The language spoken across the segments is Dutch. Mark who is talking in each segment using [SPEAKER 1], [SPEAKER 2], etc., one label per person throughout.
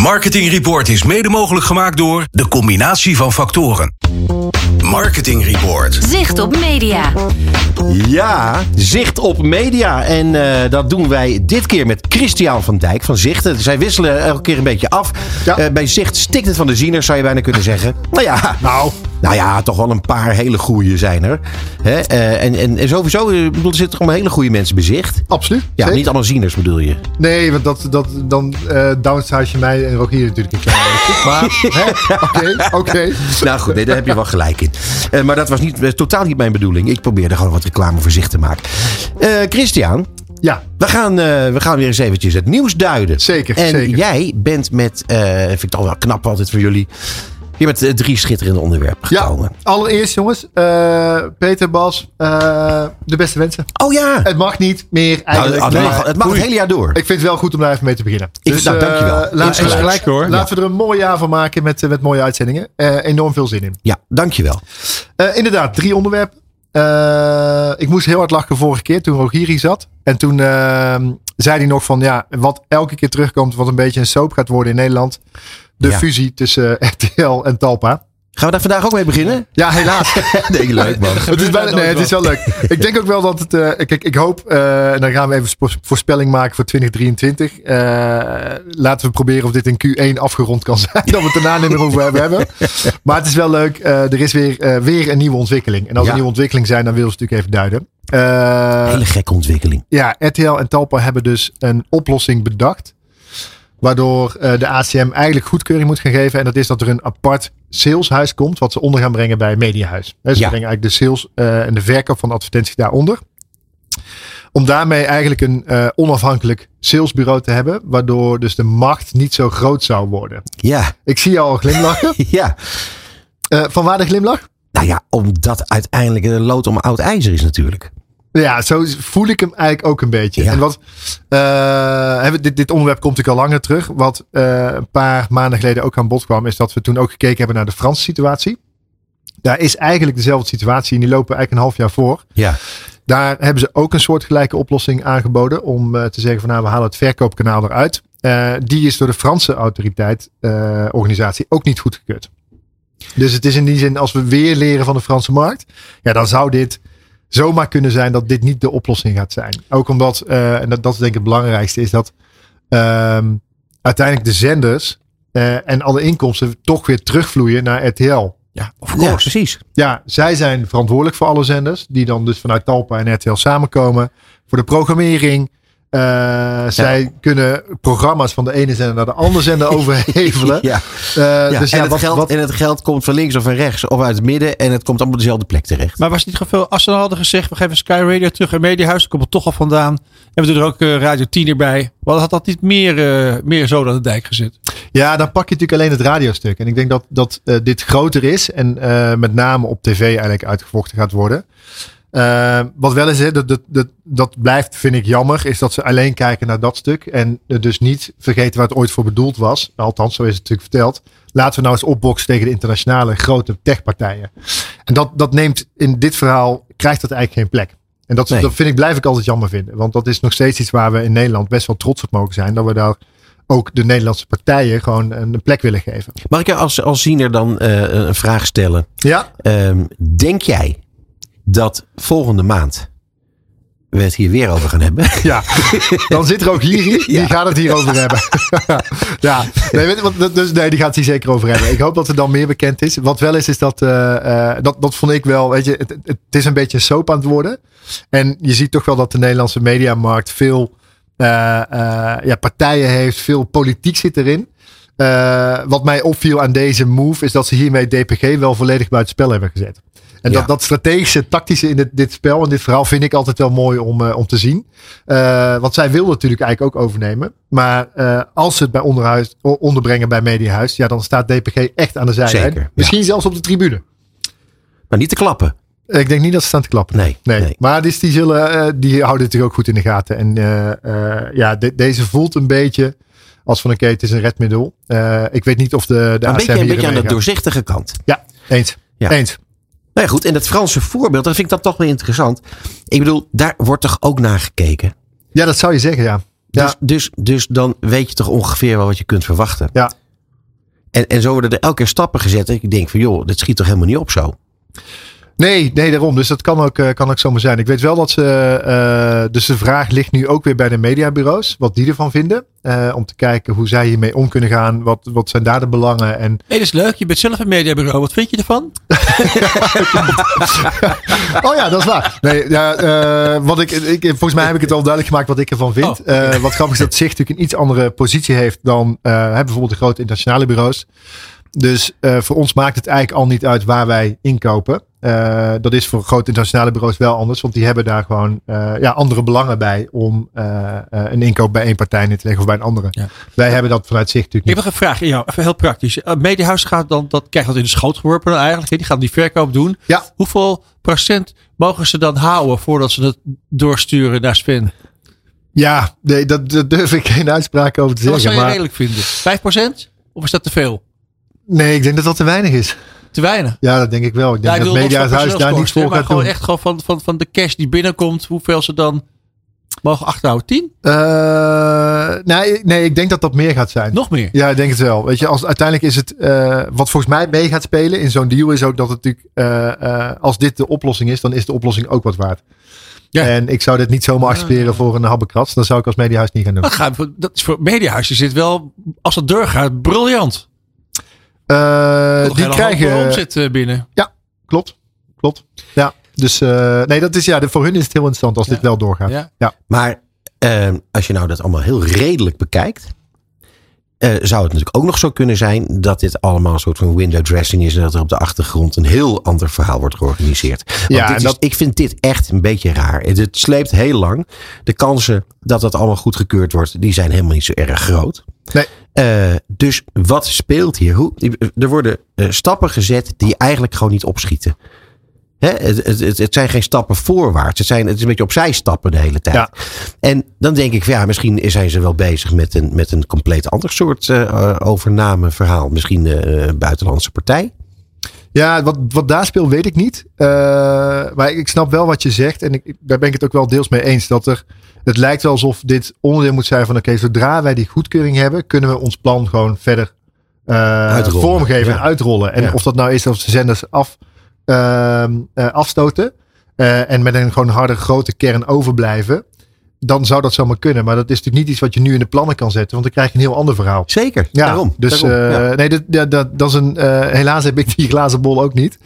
[SPEAKER 1] Marketing Report is mede mogelijk gemaakt door de combinatie van factoren. Marketing Report.
[SPEAKER 2] Zicht op media.
[SPEAKER 3] Ja, zicht op media. En eh, dat doen wij dit keer met Christian van Dijk van Zicht. Zij wisselen elke keer een beetje af.
[SPEAKER 4] Ja.
[SPEAKER 3] Eh, bij Zicht stikt het van de zieners, zou je bijna kunnen zeggen. Nou ja,
[SPEAKER 4] Nou,
[SPEAKER 3] nou ja toch wel een paar hele goeie zijn er. Hè? eh, en, en, en sowieso, eh, ik bedoel, er zitten allemaal hele goede mensen bij Zicht.
[SPEAKER 4] absoluut.
[SPEAKER 3] Ja,
[SPEAKER 4] Zeker.
[SPEAKER 3] niet allemaal zieners bedoel je.
[SPEAKER 4] Nee, want dat, dat, dan eh downsize je mij en Rogier natuurlijk een klein beetje. Maar, hè, oké, oké.
[SPEAKER 3] Nou goed, nee, daar heb je wel gelijk in. Eh, maar dat was niet, eh, totaal niet mijn bedoeling. Ik probeerde gewoon wat reclame voor Zicht te maken. Eh, Christian,
[SPEAKER 4] Ja,
[SPEAKER 3] We gaan, eh, we gaan weer eens eventjes het nieuws duiden.
[SPEAKER 4] Zeker,
[SPEAKER 3] En
[SPEAKER 4] zeker.
[SPEAKER 3] jij bent met, eh, vind ik toch wel knap altijd voor jullie. Je bent eh, drie schitterende onderwerpen
[SPEAKER 4] ja.
[SPEAKER 3] gekomen.
[SPEAKER 4] Allereerst, jongens, eh, Peter, Bas, eh, de beste wensen.
[SPEAKER 3] Oh ja,
[SPEAKER 4] Het mag niet meer
[SPEAKER 3] Nou,
[SPEAKER 4] eigenlijk.
[SPEAKER 3] het,
[SPEAKER 4] maar
[SPEAKER 3] mag, het mag het hele jaar door.
[SPEAKER 4] Ik vind het wel goed om daar even mee te beginnen.
[SPEAKER 3] Ik- nou,
[SPEAKER 4] eh,
[SPEAKER 3] dankjewel.
[SPEAKER 4] laten, we,
[SPEAKER 3] Insgelijks,
[SPEAKER 4] gelijk,
[SPEAKER 5] hoor.
[SPEAKER 4] laten we er een mooi jaar van maken met, eh, met mooie uitzendingen. Eh, enorm veel zin in.
[SPEAKER 3] Ja, dankjewel.
[SPEAKER 4] Eh, inderdaad, drie onderwerpen. Eh, ik moest heel hard lachen vorige keer toen Rogier hier zat. En toen eh, zei hij nog van ja, wat elke keer terugkomt, wat een beetje een soap gaat worden in Nederland. De
[SPEAKER 3] Ja.
[SPEAKER 4] fusie tussen eh, RTL en Talpa.
[SPEAKER 3] Gaan we daar vandaag ook mee beginnen?
[SPEAKER 4] Ja, helaas.
[SPEAKER 3] Nee, leuk man.
[SPEAKER 4] het, is
[SPEAKER 5] daar
[SPEAKER 4] bijna, nee,
[SPEAKER 5] nooit
[SPEAKER 4] het is wel leuk. Ik denk ook wel dat het. eh, kijk, ik hoop. eh, en dan gaan we even spo- voorspelling maken voor 2023. Eh, laten we proberen of dit in Q1 afgerond kan zijn. Dat we het daarna niet meer over hebben. hebben. Maar het is wel leuk. eh, er is weer, eh, weer een nieuwe ontwikkeling. En als
[SPEAKER 3] Ja.
[SPEAKER 4] er nieuwe ontwikkeling zijn, dan wil ze natuurlijk even duiden. Eh,
[SPEAKER 3] Hele gekke ontwikkeling.
[SPEAKER 4] ja, RTL en Talpa hebben dus een oplossing bedacht. Waardoor eh, de ACM eigenlijk goedkeuring moet gaan geven. En dat is dat er een apart saleshuis komt. Wat ze onder gaan brengen bij Mediahuis. Hè, Ze
[SPEAKER 3] Ja.
[SPEAKER 4] brengen eigenlijk de sales eh, en de verkoop van de advertentie daaronder. Om daarmee eigenlijk een eh, onafhankelijk salesbureau te hebben. Waardoor dus de macht niet zo groot zou worden.
[SPEAKER 3] Ja,
[SPEAKER 4] Ik zie jou al glimlachen.
[SPEAKER 3] ja.
[SPEAKER 4] Eh, van waar de glimlach?
[SPEAKER 3] Nou ja, omdat uiteindelijk de lood om oud ijzer is natuurlijk.
[SPEAKER 4] Ja, zo is- voel ik hem eigenlijk ook een beetje.
[SPEAKER 3] Ja.
[SPEAKER 4] En wat, eh, hebben- dit, dit onderwerp komt natuurlijk al langer terug. Wat eh, een paar maanden geleden ook aan bod kwam, is dat we toen ook gekeken hebben naar de Franse situatie. Daar is eigenlijk dezelfde situatie en die lopen eigenlijk een half jaar voor.
[SPEAKER 3] Ja.
[SPEAKER 4] Daar hebben ze ook een soortgelijke oplossing aangeboden om eh, te zeggen van nou we halen het verkoopkanaal eruit. Eh, die is door de Franse autoriteit, eh, organisatie, ook niet goedgekeurd. Dus het is in die zin, als we weer leren van de Franse markt, ja, dan zou dit zomaar kunnen zijn dat dit niet de oplossing gaat zijn. Ook omdat, eh, en dat, dat is denk ik het belangrijkste, is dat ehm, uiteindelijk de zenders eh, en alle inkomsten toch weer terugvloeien naar RTL.
[SPEAKER 3] Ja, of
[SPEAKER 5] course.
[SPEAKER 3] precies.
[SPEAKER 4] Ja, zij zijn verantwoordelijk voor alle zenders. Die dan dus vanuit Talpa en RTL samenkomen. Voor de programmering. Eh, Zij kunnen programma's van de ene zender naar de andere zender overhevelen.
[SPEAKER 3] Ja.
[SPEAKER 4] Eh,
[SPEAKER 3] Ja,
[SPEAKER 4] dus
[SPEAKER 3] en,
[SPEAKER 4] ja,
[SPEAKER 3] het
[SPEAKER 4] wat,
[SPEAKER 3] geld,
[SPEAKER 4] wat-
[SPEAKER 3] en het geld komt van links of van rechts of uit het midden en het komt allemaal op dezelfde plek terecht.
[SPEAKER 5] Maar was het niet gewoon veel, als ze dan hadden gezegd, we geven Sky Radio terug en Mediahuis, dan komt het toch al vandaan. En we doen er ook eh, Radio 10 erbij. Wat had dat niet meer, eh, meer zo aan de dijk gezet?
[SPEAKER 4] ja, dan pak je natuurlijk alleen het radiostuk. En ik denk dat, dat eh, dit groter is. En eh, met name op tv eigenlijk uitgevochten gaat worden. Eh, wat wel is, hè, dat, dat, dat, dat blijft, vind ik jammer, is dat ze alleen kijken naar dat stuk. En eh, dus niet vergeten waar het ooit voor bedoeld was. Althans, zo is het natuurlijk verteld. Laten we nou eens opboksen tegen de internationale grote techpartijen. En dat, dat neemt in dit verhaal, krijgt dat eigenlijk geen plek. En dat, is-
[SPEAKER 3] Nee.
[SPEAKER 4] dat vind ik, blijf ik altijd jammer vinden. Want dat is nog steeds iets waar we in Nederland best wel trots op mogen zijn. Dat we daar ook de Nederlandse partijen gewoon een een plek willen geven.
[SPEAKER 3] Mag ik jou als, als ziener dan eh, een vraag stellen?
[SPEAKER 4] Ja,
[SPEAKER 3] Ehm, denk jij dat volgende maand we het hier weer over gaan hebben?
[SPEAKER 4] Ja, dan zit er ook hier, hier die gaat het hierover hebben. ja, nee, weet je wat, dat- dus, nee, die gaat het hier zeker over hebben. Ik hoop dat er dan meer bekend is. Wat wel is, is dat, eh, eh, dat, dat vond ik wel, weet je, het, het, het is een beetje een soap aan het worden. En je ziet toch wel dat de Nederlandse mediamarkt veel eh, eh, ja, partijen heeft, veel politiek zit erin. Eh, wat mij opviel aan deze move is dat ze hiermee DPG wel volledig buiten spel hebben gezet. En
[SPEAKER 3] Ja.
[SPEAKER 4] dat, dat strategische, tactische in dit, dit spel en dit verhaal vind ik altijd wel mooi om, eh, om te zien. Eh, want zij wilden natuurlijk eigenlijk ook overnemen. Maar eh, als ze het bij onderhuis, o- onderbrengen bij Mediahuis, ja, dan staat DPG echt aan de zijlijn.
[SPEAKER 3] Zeker, ja.
[SPEAKER 4] Misschien zelfs op de tribune.
[SPEAKER 3] Maar niet te klappen.
[SPEAKER 4] Ik denk niet dat ze staan te klappen.
[SPEAKER 3] Nee,
[SPEAKER 4] Nee.
[SPEAKER 3] nee.
[SPEAKER 4] Maar dus die, zullen, eh, die houden het natuurlijk ook goed in de gaten. En eh, eh, ja, de- deze voelt een beetje als van oké, het is een redmiddel. Eh ik weet niet of de, de
[SPEAKER 3] een
[SPEAKER 4] ACM
[SPEAKER 3] beetje, een
[SPEAKER 4] hier
[SPEAKER 3] beetje aan de
[SPEAKER 4] ermee gaat.
[SPEAKER 3] doorzichtige kant.
[SPEAKER 4] Ja, eens.
[SPEAKER 3] Ja.
[SPEAKER 4] Eens.
[SPEAKER 3] Nou ja, goed. En dat Franse voorbeeld, dat vind ik dan toch wel interessant. Ik bedoel, daar wordt toch ook naar gekeken?
[SPEAKER 4] Ja, dat zou je zeggen, ja. Ja.
[SPEAKER 3] Dus, dus, dus dan weet je toch ongeveer wel wat je kunt verwachten.
[SPEAKER 4] Ja.
[SPEAKER 3] En, en zo worden er elke keer stappen gezet. En ik denk van joh, dat schiet toch helemaal niet op zo.
[SPEAKER 4] Nee, nee, daarom. Dus dat kan ook, eh, kan ook zomaar zijn. Ik weet wel dat ze. eh, dus de vraag ligt nu ook weer bij de mediabureaus. Wat die ervan vinden. Eh, om te kijken hoe zij hiermee om kunnen gaan. Wat, wat zijn daar de belangen? En
[SPEAKER 5] Nee, dat is leuk. Je bent zelf een mediabureau. Wat vind je ervan?
[SPEAKER 4] Oh ja, dat is waar. Nee, ja, eh, wat ik, ik, volgens mij heb ik het al duidelijk gemaakt wat ik ervan vind.
[SPEAKER 5] Oh.
[SPEAKER 4] Eh, wat grappig is dat Zicht natuurlijk een iets andere positie heeft dan eh, hè, bijvoorbeeld de grote internationale bureaus. Dus eh, voor ons maakt het eigenlijk al niet uit waar wij inkopen. Eh, dat is voor grote internationale bureaus wel anders, want die hebben daar gewoon eh, ja, andere belangen bij om eh, eh, een inkoop bij één partij neer te leggen of bij een andere.
[SPEAKER 5] Ja.
[SPEAKER 4] Wij hebben dat vanuit Zicht natuurlijk
[SPEAKER 5] Ik heb
[SPEAKER 4] niet.
[SPEAKER 5] nog een vraag aan jou. Even heel praktisch. Een mediahuis gaat dan, dat krijgt dat in de schoot geworpen dan eigenlijk. hè? Die gaan die verkoop doen.
[SPEAKER 4] Ja.
[SPEAKER 5] Hoeveel procent mogen ze dan houden voordat ze het doorsturen naar Sven?
[SPEAKER 4] Ja, nee, dat, dat durf ik geen uitspraak over te
[SPEAKER 5] Wat
[SPEAKER 4] zeggen.
[SPEAKER 5] zou je
[SPEAKER 4] maar-
[SPEAKER 5] redelijk vinden? 5 Of is dat te veel?
[SPEAKER 4] nee, ik denk dat dat te weinig is.
[SPEAKER 5] Te weinig?
[SPEAKER 4] Ja, dat denk ik wel. Ik denk
[SPEAKER 5] ik
[SPEAKER 4] dat
[SPEAKER 5] bedoel,
[SPEAKER 4] media
[SPEAKER 5] wat
[SPEAKER 4] het
[SPEAKER 5] voor
[SPEAKER 4] huis daar niet
[SPEAKER 5] personeelskosten, hè?
[SPEAKER 4] voor
[SPEAKER 5] Maar
[SPEAKER 4] gaat
[SPEAKER 5] gewoon
[SPEAKER 4] doen.
[SPEAKER 5] echt gewoon van, van, van de cash die binnenkomt. Hoeveel ze dan mogen achterhouden? 10?
[SPEAKER 4] Eh, nee, nee, ik denk dat dat meer gaat zijn.
[SPEAKER 5] Nog meer?
[SPEAKER 4] Ja, ik denk het wel. Weet je, als, uiteindelijk is het. eh, wat volgens mij mee gaat spelen in zo'n deal is ook dat het natuurlijk. eh, eh, als dit de oplossing is, dan is de oplossing ook wat waard.
[SPEAKER 5] Ja. Ah.
[SPEAKER 4] En ik zou dit niet zomaar accepteren voor een habbekrats. Dan zou ik als mediahuis niet gaan doen.
[SPEAKER 5] Dat, gaan we- dat is voor mediahuis. Je zit wel, als dat doorgaat, briljant.
[SPEAKER 4] Eh,
[SPEAKER 5] Toch
[SPEAKER 4] die
[SPEAKER 5] hele hoop
[SPEAKER 4] krijgen.
[SPEAKER 5] omzet eh, binnen.
[SPEAKER 4] Klopt. Klopt. Ja. Dus eh, nee, dat is ja. de- Voor hun is het heel interessant als
[SPEAKER 5] Ja.
[SPEAKER 4] dit wel doorgaat.
[SPEAKER 5] Ja.
[SPEAKER 3] Maar eh, als je nou dat allemaal heel redelijk bekijkt. eh, zou het natuurlijk ook nog zo kunnen zijn dat dit allemaal een soort van window dressing is. En dat er op de achtergrond een heel ander verhaal wordt georganiseerd. Want
[SPEAKER 4] Ja,
[SPEAKER 3] dit
[SPEAKER 4] en
[SPEAKER 3] is-
[SPEAKER 4] dat-
[SPEAKER 3] ik vind dit echt een beetje raar. Het, het sleept heel lang. De kansen dat dat allemaal goedgekeurd wordt, die zijn helemaal niet zo erg groot.
[SPEAKER 4] Nee.
[SPEAKER 3] Eh, dus wat speelt hier? Hoe, er worden eh, stappen gezet die eigenlijk gewoon niet opschieten. Hè? Het, het, het- het zijn geen stappen voorwaarts. Het, zijn, het is een beetje opzij stappen de hele tijd.
[SPEAKER 4] Ja.
[SPEAKER 3] En dan denk ik, van, ja, misschien zijn ze wel bezig met een, met een compleet ander soort eh, eh, overnameverhaal. Misschien eh, een buitenlandse partij.
[SPEAKER 4] Ja, wat, wat daar speelt weet ik niet. Eh, maar ik, ik snap wel wat je zegt. En ik, ik- daar ben ik het ook wel deels mee eens. Dat er, het lijkt wel alsof dit onderdeel moet zijn van... oké, zodra wij die goedkeuring hebben... kunnen we ons plan gewoon verder eh,
[SPEAKER 3] Uitrollen,
[SPEAKER 4] vormgeven
[SPEAKER 3] ja.
[SPEAKER 4] en uitrollen. En
[SPEAKER 3] Ja.
[SPEAKER 4] of dat nou is dat ze zenders af, ehm, eh, afstoten... eh, en met een gewoon harde grote kern overblijven... dan zou dat zomaar kunnen. Maar dat is natuurlijk niet iets wat je nu in de plannen kan zetten... want dan krijg je een heel ander verhaal.
[SPEAKER 3] Zeker,
[SPEAKER 4] Ja,
[SPEAKER 3] daarom.
[SPEAKER 4] Dus
[SPEAKER 3] daarom, ja.
[SPEAKER 4] eh, nee, dat, dat, dat, dat is een. eh, helaas heb ik die glazen bol ook niet.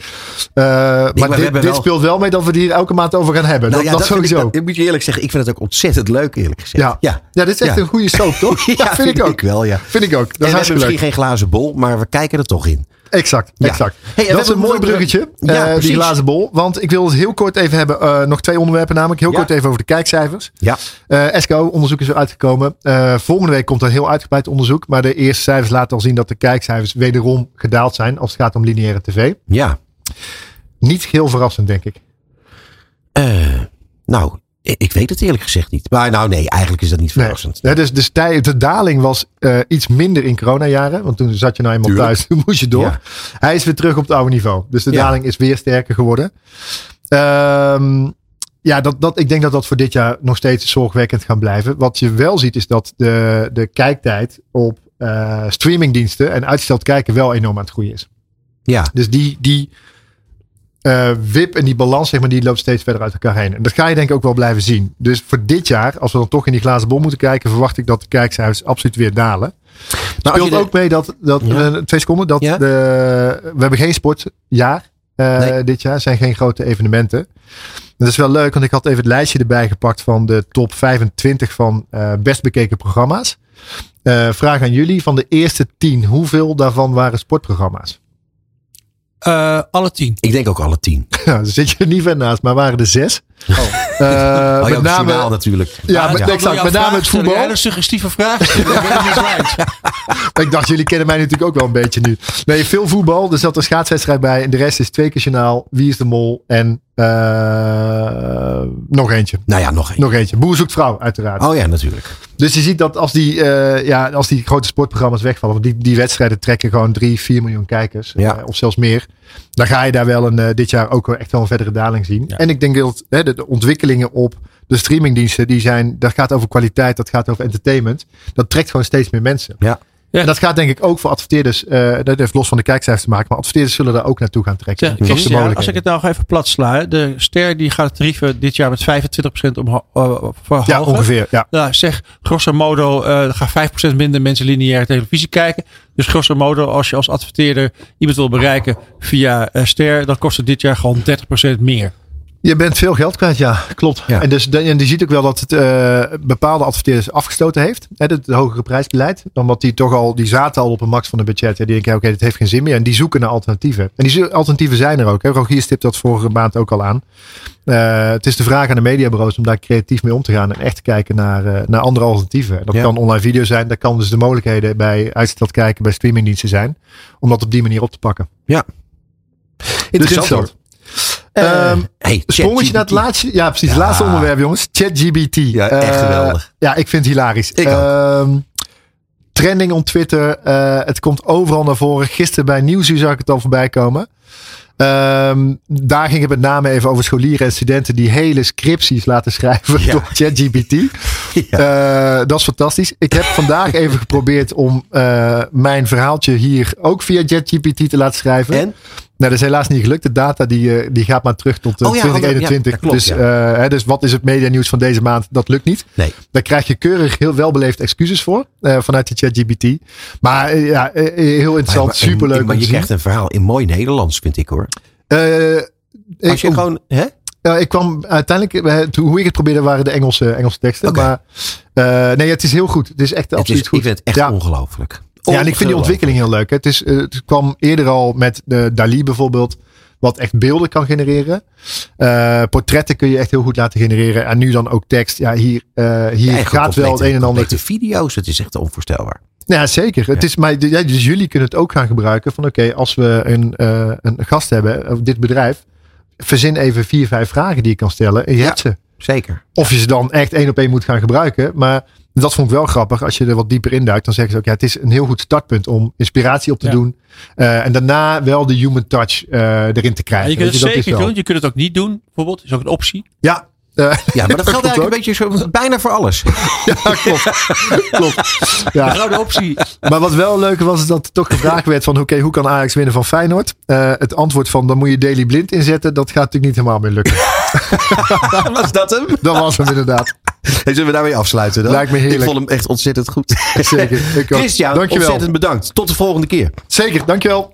[SPEAKER 4] Eh, maar
[SPEAKER 3] we
[SPEAKER 4] dit,
[SPEAKER 3] hebben
[SPEAKER 4] dit
[SPEAKER 3] wel-
[SPEAKER 4] speelt wel mee dat we die hier elke maand over gaan hebben.
[SPEAKER 3] Nou
[SPEAKER 4] dat,
[SPEAKER 3] ja,
[SPEAKER 4] dat,
[SPEAKER 3] vind
[SPEAKER 4] sowieso.
[SPEAKER 3] Ik, dat- ik moet je eerlijk zeggen, ik vind het ook ontzettend leuk eerlijk gezegd.
[SPEAKER 4] Ja.
[SPEAKER 3] ja.
[SPEAKER 4] ja, dit is echt
[SPEAKER 3] Ja.
[SPEAKER 4] een goede soap, toch? ja, vind, ik ook.
[SPEAKER 3] wel, ja.
[SPEAKER 4] Vind ik ook.
[SPEAKER 3] En
[SPEAKER 4] Dat
[SPEAKER 3] we
[SPEAKER 4] is
[SPEAKER 3] hebben
[SPEAKER 4] hartstikke
[SPEAKER 3] misschien
[SPEAKER 4] leuk.
[SPEAKER 3] geen glazen bol, maar we kijken er toch in.
[SPEAKER 4] Exact,
[SPEAKER 3] Ja.
[SPEAKER 4] exact.
[SPEAKER 3] Hey, en we
[SPEAKER 4] dat is
[SPEAKER 3] hebben
[SPEAKER 4] een mooi
[SPEAKER 3] nog-
[SPEAKER 4] bruggetje,
[SPEAKER 3] Ja,
[SPEAKER 4] eh,
[SPEAKER 3] precies.
[SPEAKER 4] die glazen bol. Want ik wil het heel kort even hebben. eh, nog twee onderwerpen namelijk. Heel
[SPEAKER 3] Ja.
[SPEAKER 4] kort even over de kijkcijfers.
[SPEAKER 3] Ja.
[SPEAKER 4] Eh, SKO, onderzoek is er uitgekomen. Eh, volgende week komt een heel uitgebreid onderzoek. Maar de eerste cijfers laten al zien dat de kijkcijfers wederom gedaald zijn. Als het gaat om lineaire tv.
[SPEAKER 3] Ja.
[SPEAKER 4] Niet heel verrassend, denk ik.
[SPEAKER 3] Eh, nou, ik ik weet het eerlijk gezegd niet. Maar nou nee, eigenlijk is dat niet verrassend.
[SPEAKER 4] Nee, dus dus tij- de daling was eh, iets minder in coronajaren. Want toen zat je nou eenmaal
[SPEAKER 3] Tuurlijk.
[SPEAKER 4] thuis, toen moest je door.
[SPEAKER 3] Ja.
[SPEAKER 4] Hij is weer terug op het oude niveau. Dus de
[SPEAKER 3] Ja.
[SPEAKER 4] daling is weer sterker geworden. Ehm, ja, dat, dat, ik denk dat dat voor dit jaar nog steeds zorgwekkend gaan blijven. Wat je wel ziet is dat de, de kijktijd op eh, streamingdiensten en uitgesteld kijken wel enorm aan het groeien is.
[SPEAKER 3] Ja.
[SPEAKER 4] Dus die, die eh, wip en die balans, zeg maar, die loopt steeds verder uit elkaar heen. En dat ga je denk ik ook wel blijven zien. Dus voor dit jaar, als we dan toch in die glazen bol moeten kijken, verwacht ik dat de kijkcijfers absoluut weer dalen.
[SPEAKER 3] Nou, als
[SPEAKER 4] Speelt
[SPEAKER 3] je de-
[SPEAKER 4] ook mee dat, dat
[SPEAKER 3] Ja.
[SPEAKER 4] eh, twee seconden, dat
[SPEAKER 3] Ja.
[SPEAKER 4] de, we hebben geen sportjaar eh,
[SPEAKER 3] Nee.
[SPEAKER 4] dit jaar. Er zijn geen grote evenementen. Dat is wel leuk, want ik had even het lijstje erbij gepakt van de top 25 van eh, best bekeken programma's. Eh, vraag aan jullie, van de eerste 10, hoeveel daarvan waren sportprogramma's?
[SPEAKER 5] Eh, alle tien.
[SPEAKER 3] Ik denk ook alle tien.
[SPEAKER 4] Ja, daar zit je er niet ver naast, maar waren er zes. Eh,
[SPEAKER 3] oh, ja,
[SPEAKER 4] met
[SPEAKER 3] met
[SPEAKER 4] name,
[SPEAKER 3] journaal natuurlijk.
[SPEAKER 4] ja,
[SPEAKER 5] Ah,
[SPEAKER 4] met,
[SPEAKER 5] ik wil
[SPEAKER 4] exact,
[SPEAKER 5] jou
[SPEAKER 4] met
[SPEAKER 5] een
[SPEAKER 4] name
[SPEAKER 5] vraag dus-
[SPEAKER 4] het
[SPEAKER 5] stellen.
[SPEAKER 4] voetbal.
[SPEAKER 5] Ja, een suggestieve vraag. stellen. Ik ben niet eens uit.
[SPEAKER 4] Ik dacht, jullie kennen mij natuurlijk ook wel een beetje nu. Nee, veel voetbal. Er zat een schaatswedstrijd bij. En de rest is twee keer journaal. Wie is de mol? En eh, nog eentje.
[SPEAKER 3] Nou ja, nog één.
[SPEAKER 4] Nog eentje. Boer zoekt vrouw, uiteraard.
[SPEAKER 3] Oh ja, natuurlijk.
[SPEAKER 4] Dus je ziet dat als die, eh, ja, als die grote sportprogramma's wegvallen. Want die, die wedstrijden trekken gewoon drie, vier miljoen kijkers.
[SPEAKER 3] Ja.
[SPEAKER 4] eh, of zelfs meer. Dan ga je daar wel een, eh, dit jaar ook wel echt wel een verdere daling zien. En ik denk dat hè, de, de ontwikkeling ontwikkelingen op de streamingdiensten, die zijn, dat gaat over kwaliteit, dat gaat over entertainment. Dat trekt gewoon steeds meer mensen.
[SPEAKER 3] Ja.
[SPEAKER 5] Ja.
[SPEAKER 4] En dat gaat denk ik ook voor adverteerders, eh, dat heeft los van de kijkcijfers te maken, maar adverteerders zullen daar ook naartoe gaan trekken.
[SPEAKER 5] Zeg,
[SPEAKER 4] Dat is de
[SPEAKER 5] Christian, als ik
[SPEAKER 4] mogelijkheden.
[SPEAKER 5] het nou even plat sla, hè, de ster die gaat de tarieven dit jaar met 25% omhoog. eh, verhogen.
[SPEAKER 4] ja, ongeveer. Ja.
[SPEAKER 5] Nou, zeg, grosso modo eh, er gaan 5% minder mensen lineair televisie kijken. Dus grosso modo, als je als adverteerder iemand wil bereiken via eh, ster, dan kost het dit jaar gewoon 30% meer.
[SPEAKER 4] Je bent veel geld kwijt, ja, klopt.
[SPEAKER 3] Ja.
[SPEAKER 4] En, dus, en je ziet ook wel dat het eh, bepaalde adverteerders afgestoten heeft. Hè, het hogere prijsbeleid. Omdat die toch al, die zaten al op een max van het budget. En die denken, ja, oké, dit heeft geen zin meer. En die zoeken naar alternatieven. En die zo- alternatieven zijn er ook. Hè. Rogier stipt dat vorige maand ook al aan. Eh, het is de vraag aan de mediabureaus om daar creatief mee om te gaan. En echt te kijken naar, eh, naar andere alternatieven. Dat
[SPEAKER 3] Ja.
[SPEAKER 4] kan online video zijn. Dat kan dus de mogelijkheden bij uitgesteld kijken, bij streamingdiensten zijn. Om dat op die manier op te pakken.
[SPEAKER 3] Interessant
[SPEAKER 4] Dus
[SPEAKER 3] hoor.
[SPEAKER 4] dat.
[SPEAKER 3] Eh,
[SPEAKER 4] Ehm,
[SPEAKER 3] hey,
[SPEAKER 4] Sprongetje naar het
[SPEAKER 3] ChatGPT.
[SPEAKER 4] laatste. Ja, precies. Het
[SPEAKER 3] Ja.
[SPEAKER 4] laatste onderwerp, jongens. ChatGBT.
[SPEAKER 3] Ja, echt
[SPEAKER 4] Eh,
[SPEAKER 3] geweldig.
[SPEAKER 4] ja, ik vind het hilarisch.
[SPEAKER 3] Ik ook.
[SPEAKER 4] Ehm, trending op Twitter. eh, het komt overal naar voren. Gisteren bij Nieuwsuur zag ik het al voorbij komen. Ehm, daar ging het met name even over scholieren en studenten die hele scripties laten schrijven
[SPEAKER 3] Ja.
[SPEAKER 4] door ChatGPT. Eh, dat is fantastisch. Ik heb vandaag even geprobeerd om eh, mijn verhaaltje hier ook via ChatGPT te laten schrijven.
[SPEAKER 3] En?
[SPEAKER 4] Nou, dat is helaas niet gelukt. De data die, eh, die gaat maar terug tot eh,
[SPEAKER 3] Oh ja, want dat-
[SPEAKER 4] 2021.
[SPEAKER 3] ja, dat klopt,
[SPEAKER 4] dus, eh, hè, dus wat is het medianieuws van deze maand? Dat lukt niet.
[SPEAKER 3] Nee.
[SPEAKER 4] Daar krijg je keurig heel welbeleefd excuses voor eh, vanuit de ChatGPT. Maar eh, ja, eh, eh, heel
[SPEAKER 3] Maar ja,
[SPEAKER 4] interessant,
[SPEAKER 3] maar-
[SPEAKER 4] superleuk
[SPEAKER 3] Maar
[SPEAKER 4] om
[SPEAKER 3] je
[SPEAKER 4] te
[SPEAKER 3] krijgt een verhaal in mooi Nederlands, vind ik hoor.
[SPEAKER 4] zien. Eh,
[SPEAKER 3] Als
[SPEAKER 4] ik,
[SPEAKER 3] je gewoon, hè?
[SPEAKER 4] eh, ik kwam uiteindelijk, eh, toen- hoe ik het probeerde waren de Engelse, Engelse teksten.
[SPEAKER 3] Oké.
[SPEAKER 4] Maar eh, nee, het is heel goed. Het is echt
[SPEAKER 3] Het
[SPEAKER 4] absoluut
[SPEAKER 3] is, ik
[SPEAKER 4] goed.
[SPEAKER 3] vind het echt
[SPEAKER 4] Ja.
[SPEAKER 3] ongelooflijk.
[SPEAKER 4] Ja, en ik vind die ontwikkeling heel leuk. hè. Het, is, eh, het kwam eerder al met de Dali bijvoorbeeld, wat echt beelden kan genereren. Eh, portretten kun je echt heel goed laten genereren. En nu dan ook tekst. Ja, hier, eh, hier
[SPEAKER 3] Ja, en gewoon
[SPEAKER 4] gaat wel het
[SPEAKER 3] complete-
[SPEAKER 4] een en ander.
[SPEAKER 3] complete video's, het is echt onvoorstelbaar.
[SPEAKER 4] Ja, zeker. Het
[SPEAKER 3] Ja.
[SPEAKER 4] is, maar, ja, dus jullie kunnen het ook gaan gebruiken van oké, als we een, eh, een gast hebben, of dit bedrijf, verzin even vier, vijf vragen die je kan stellen en je
[SPEAKER 3] Ja.
[SPEAKER 4] hebt ze.
[SPEAKER 3] Zeker.
[SPEAKER 4] Of je ze dan echt één op één moet gaan gebruiken. Maar dat vond ik wel grappig. Als je er wat dieper in duikt, dan zeggen ze ook... ja, het is een heel goed startpunt om inspiratie op te
[SPEAKER 5] Ja.
[SPEAKER 4] doen. Eh, en daarna wel de human touch eh, erin te
[SPEAKER 5] Ja,
[SPEAKER 4] krijgen.
[SPEAKER 5] je kunt
[SPEAKER 4] Weet
[SPEAKER 5] het
[SPEAKER 4] dat is
[SPEAKER 5] zeker
[SPEAKER 4] wel-
[SPEAKER 5] doen, je kunt het ook niet doen, bijvoorbeeld. Is ook een optie.
[SPEAKER 4] Ja,
[SPEAKER 3] Ja, maar dat geldt
[SPEAKER 4] klopt
[SPEAKER 3] eigenlijk een beetje zo, bijna voor alles.
[SPEAKER 4] ja, klopt. klopt.
[SPEAKER 5] Nou, De
[SPEAKER 4] Ja.
[SPEAKER 5] gouden optie.
[SPEAKER 4] Maar wat wel leuk was, is dat er toch gevraagd werd van... oké, hoe kan Ajax winnen van Feyenoord? Eh, het antwoord van, dan moet je Daily Blind inzetten. Dat gaat natuurlijk niet helemaal meer lukken.
[SPEAKER 3] Was dat hem?
[SPEAKER 4] Dat was hem inderdaad.
[SPEAKER 3] Zullen we daarmee afsluiten dan?
[SPEAKER 4] Lijkt me heerlijk.
[SPEAKER 3] Ik vond hem echt ontzettend goed.
[SPEAKER 4] Zeker. Ik ook.
[SPEAKER 3] Christian,
[SPEAKER 4] dankjewel.
[SPEAKER 3] ontzettend bedankt. Tot de volgende keer.
[SPEAKER 4] Zeker, dankjewel.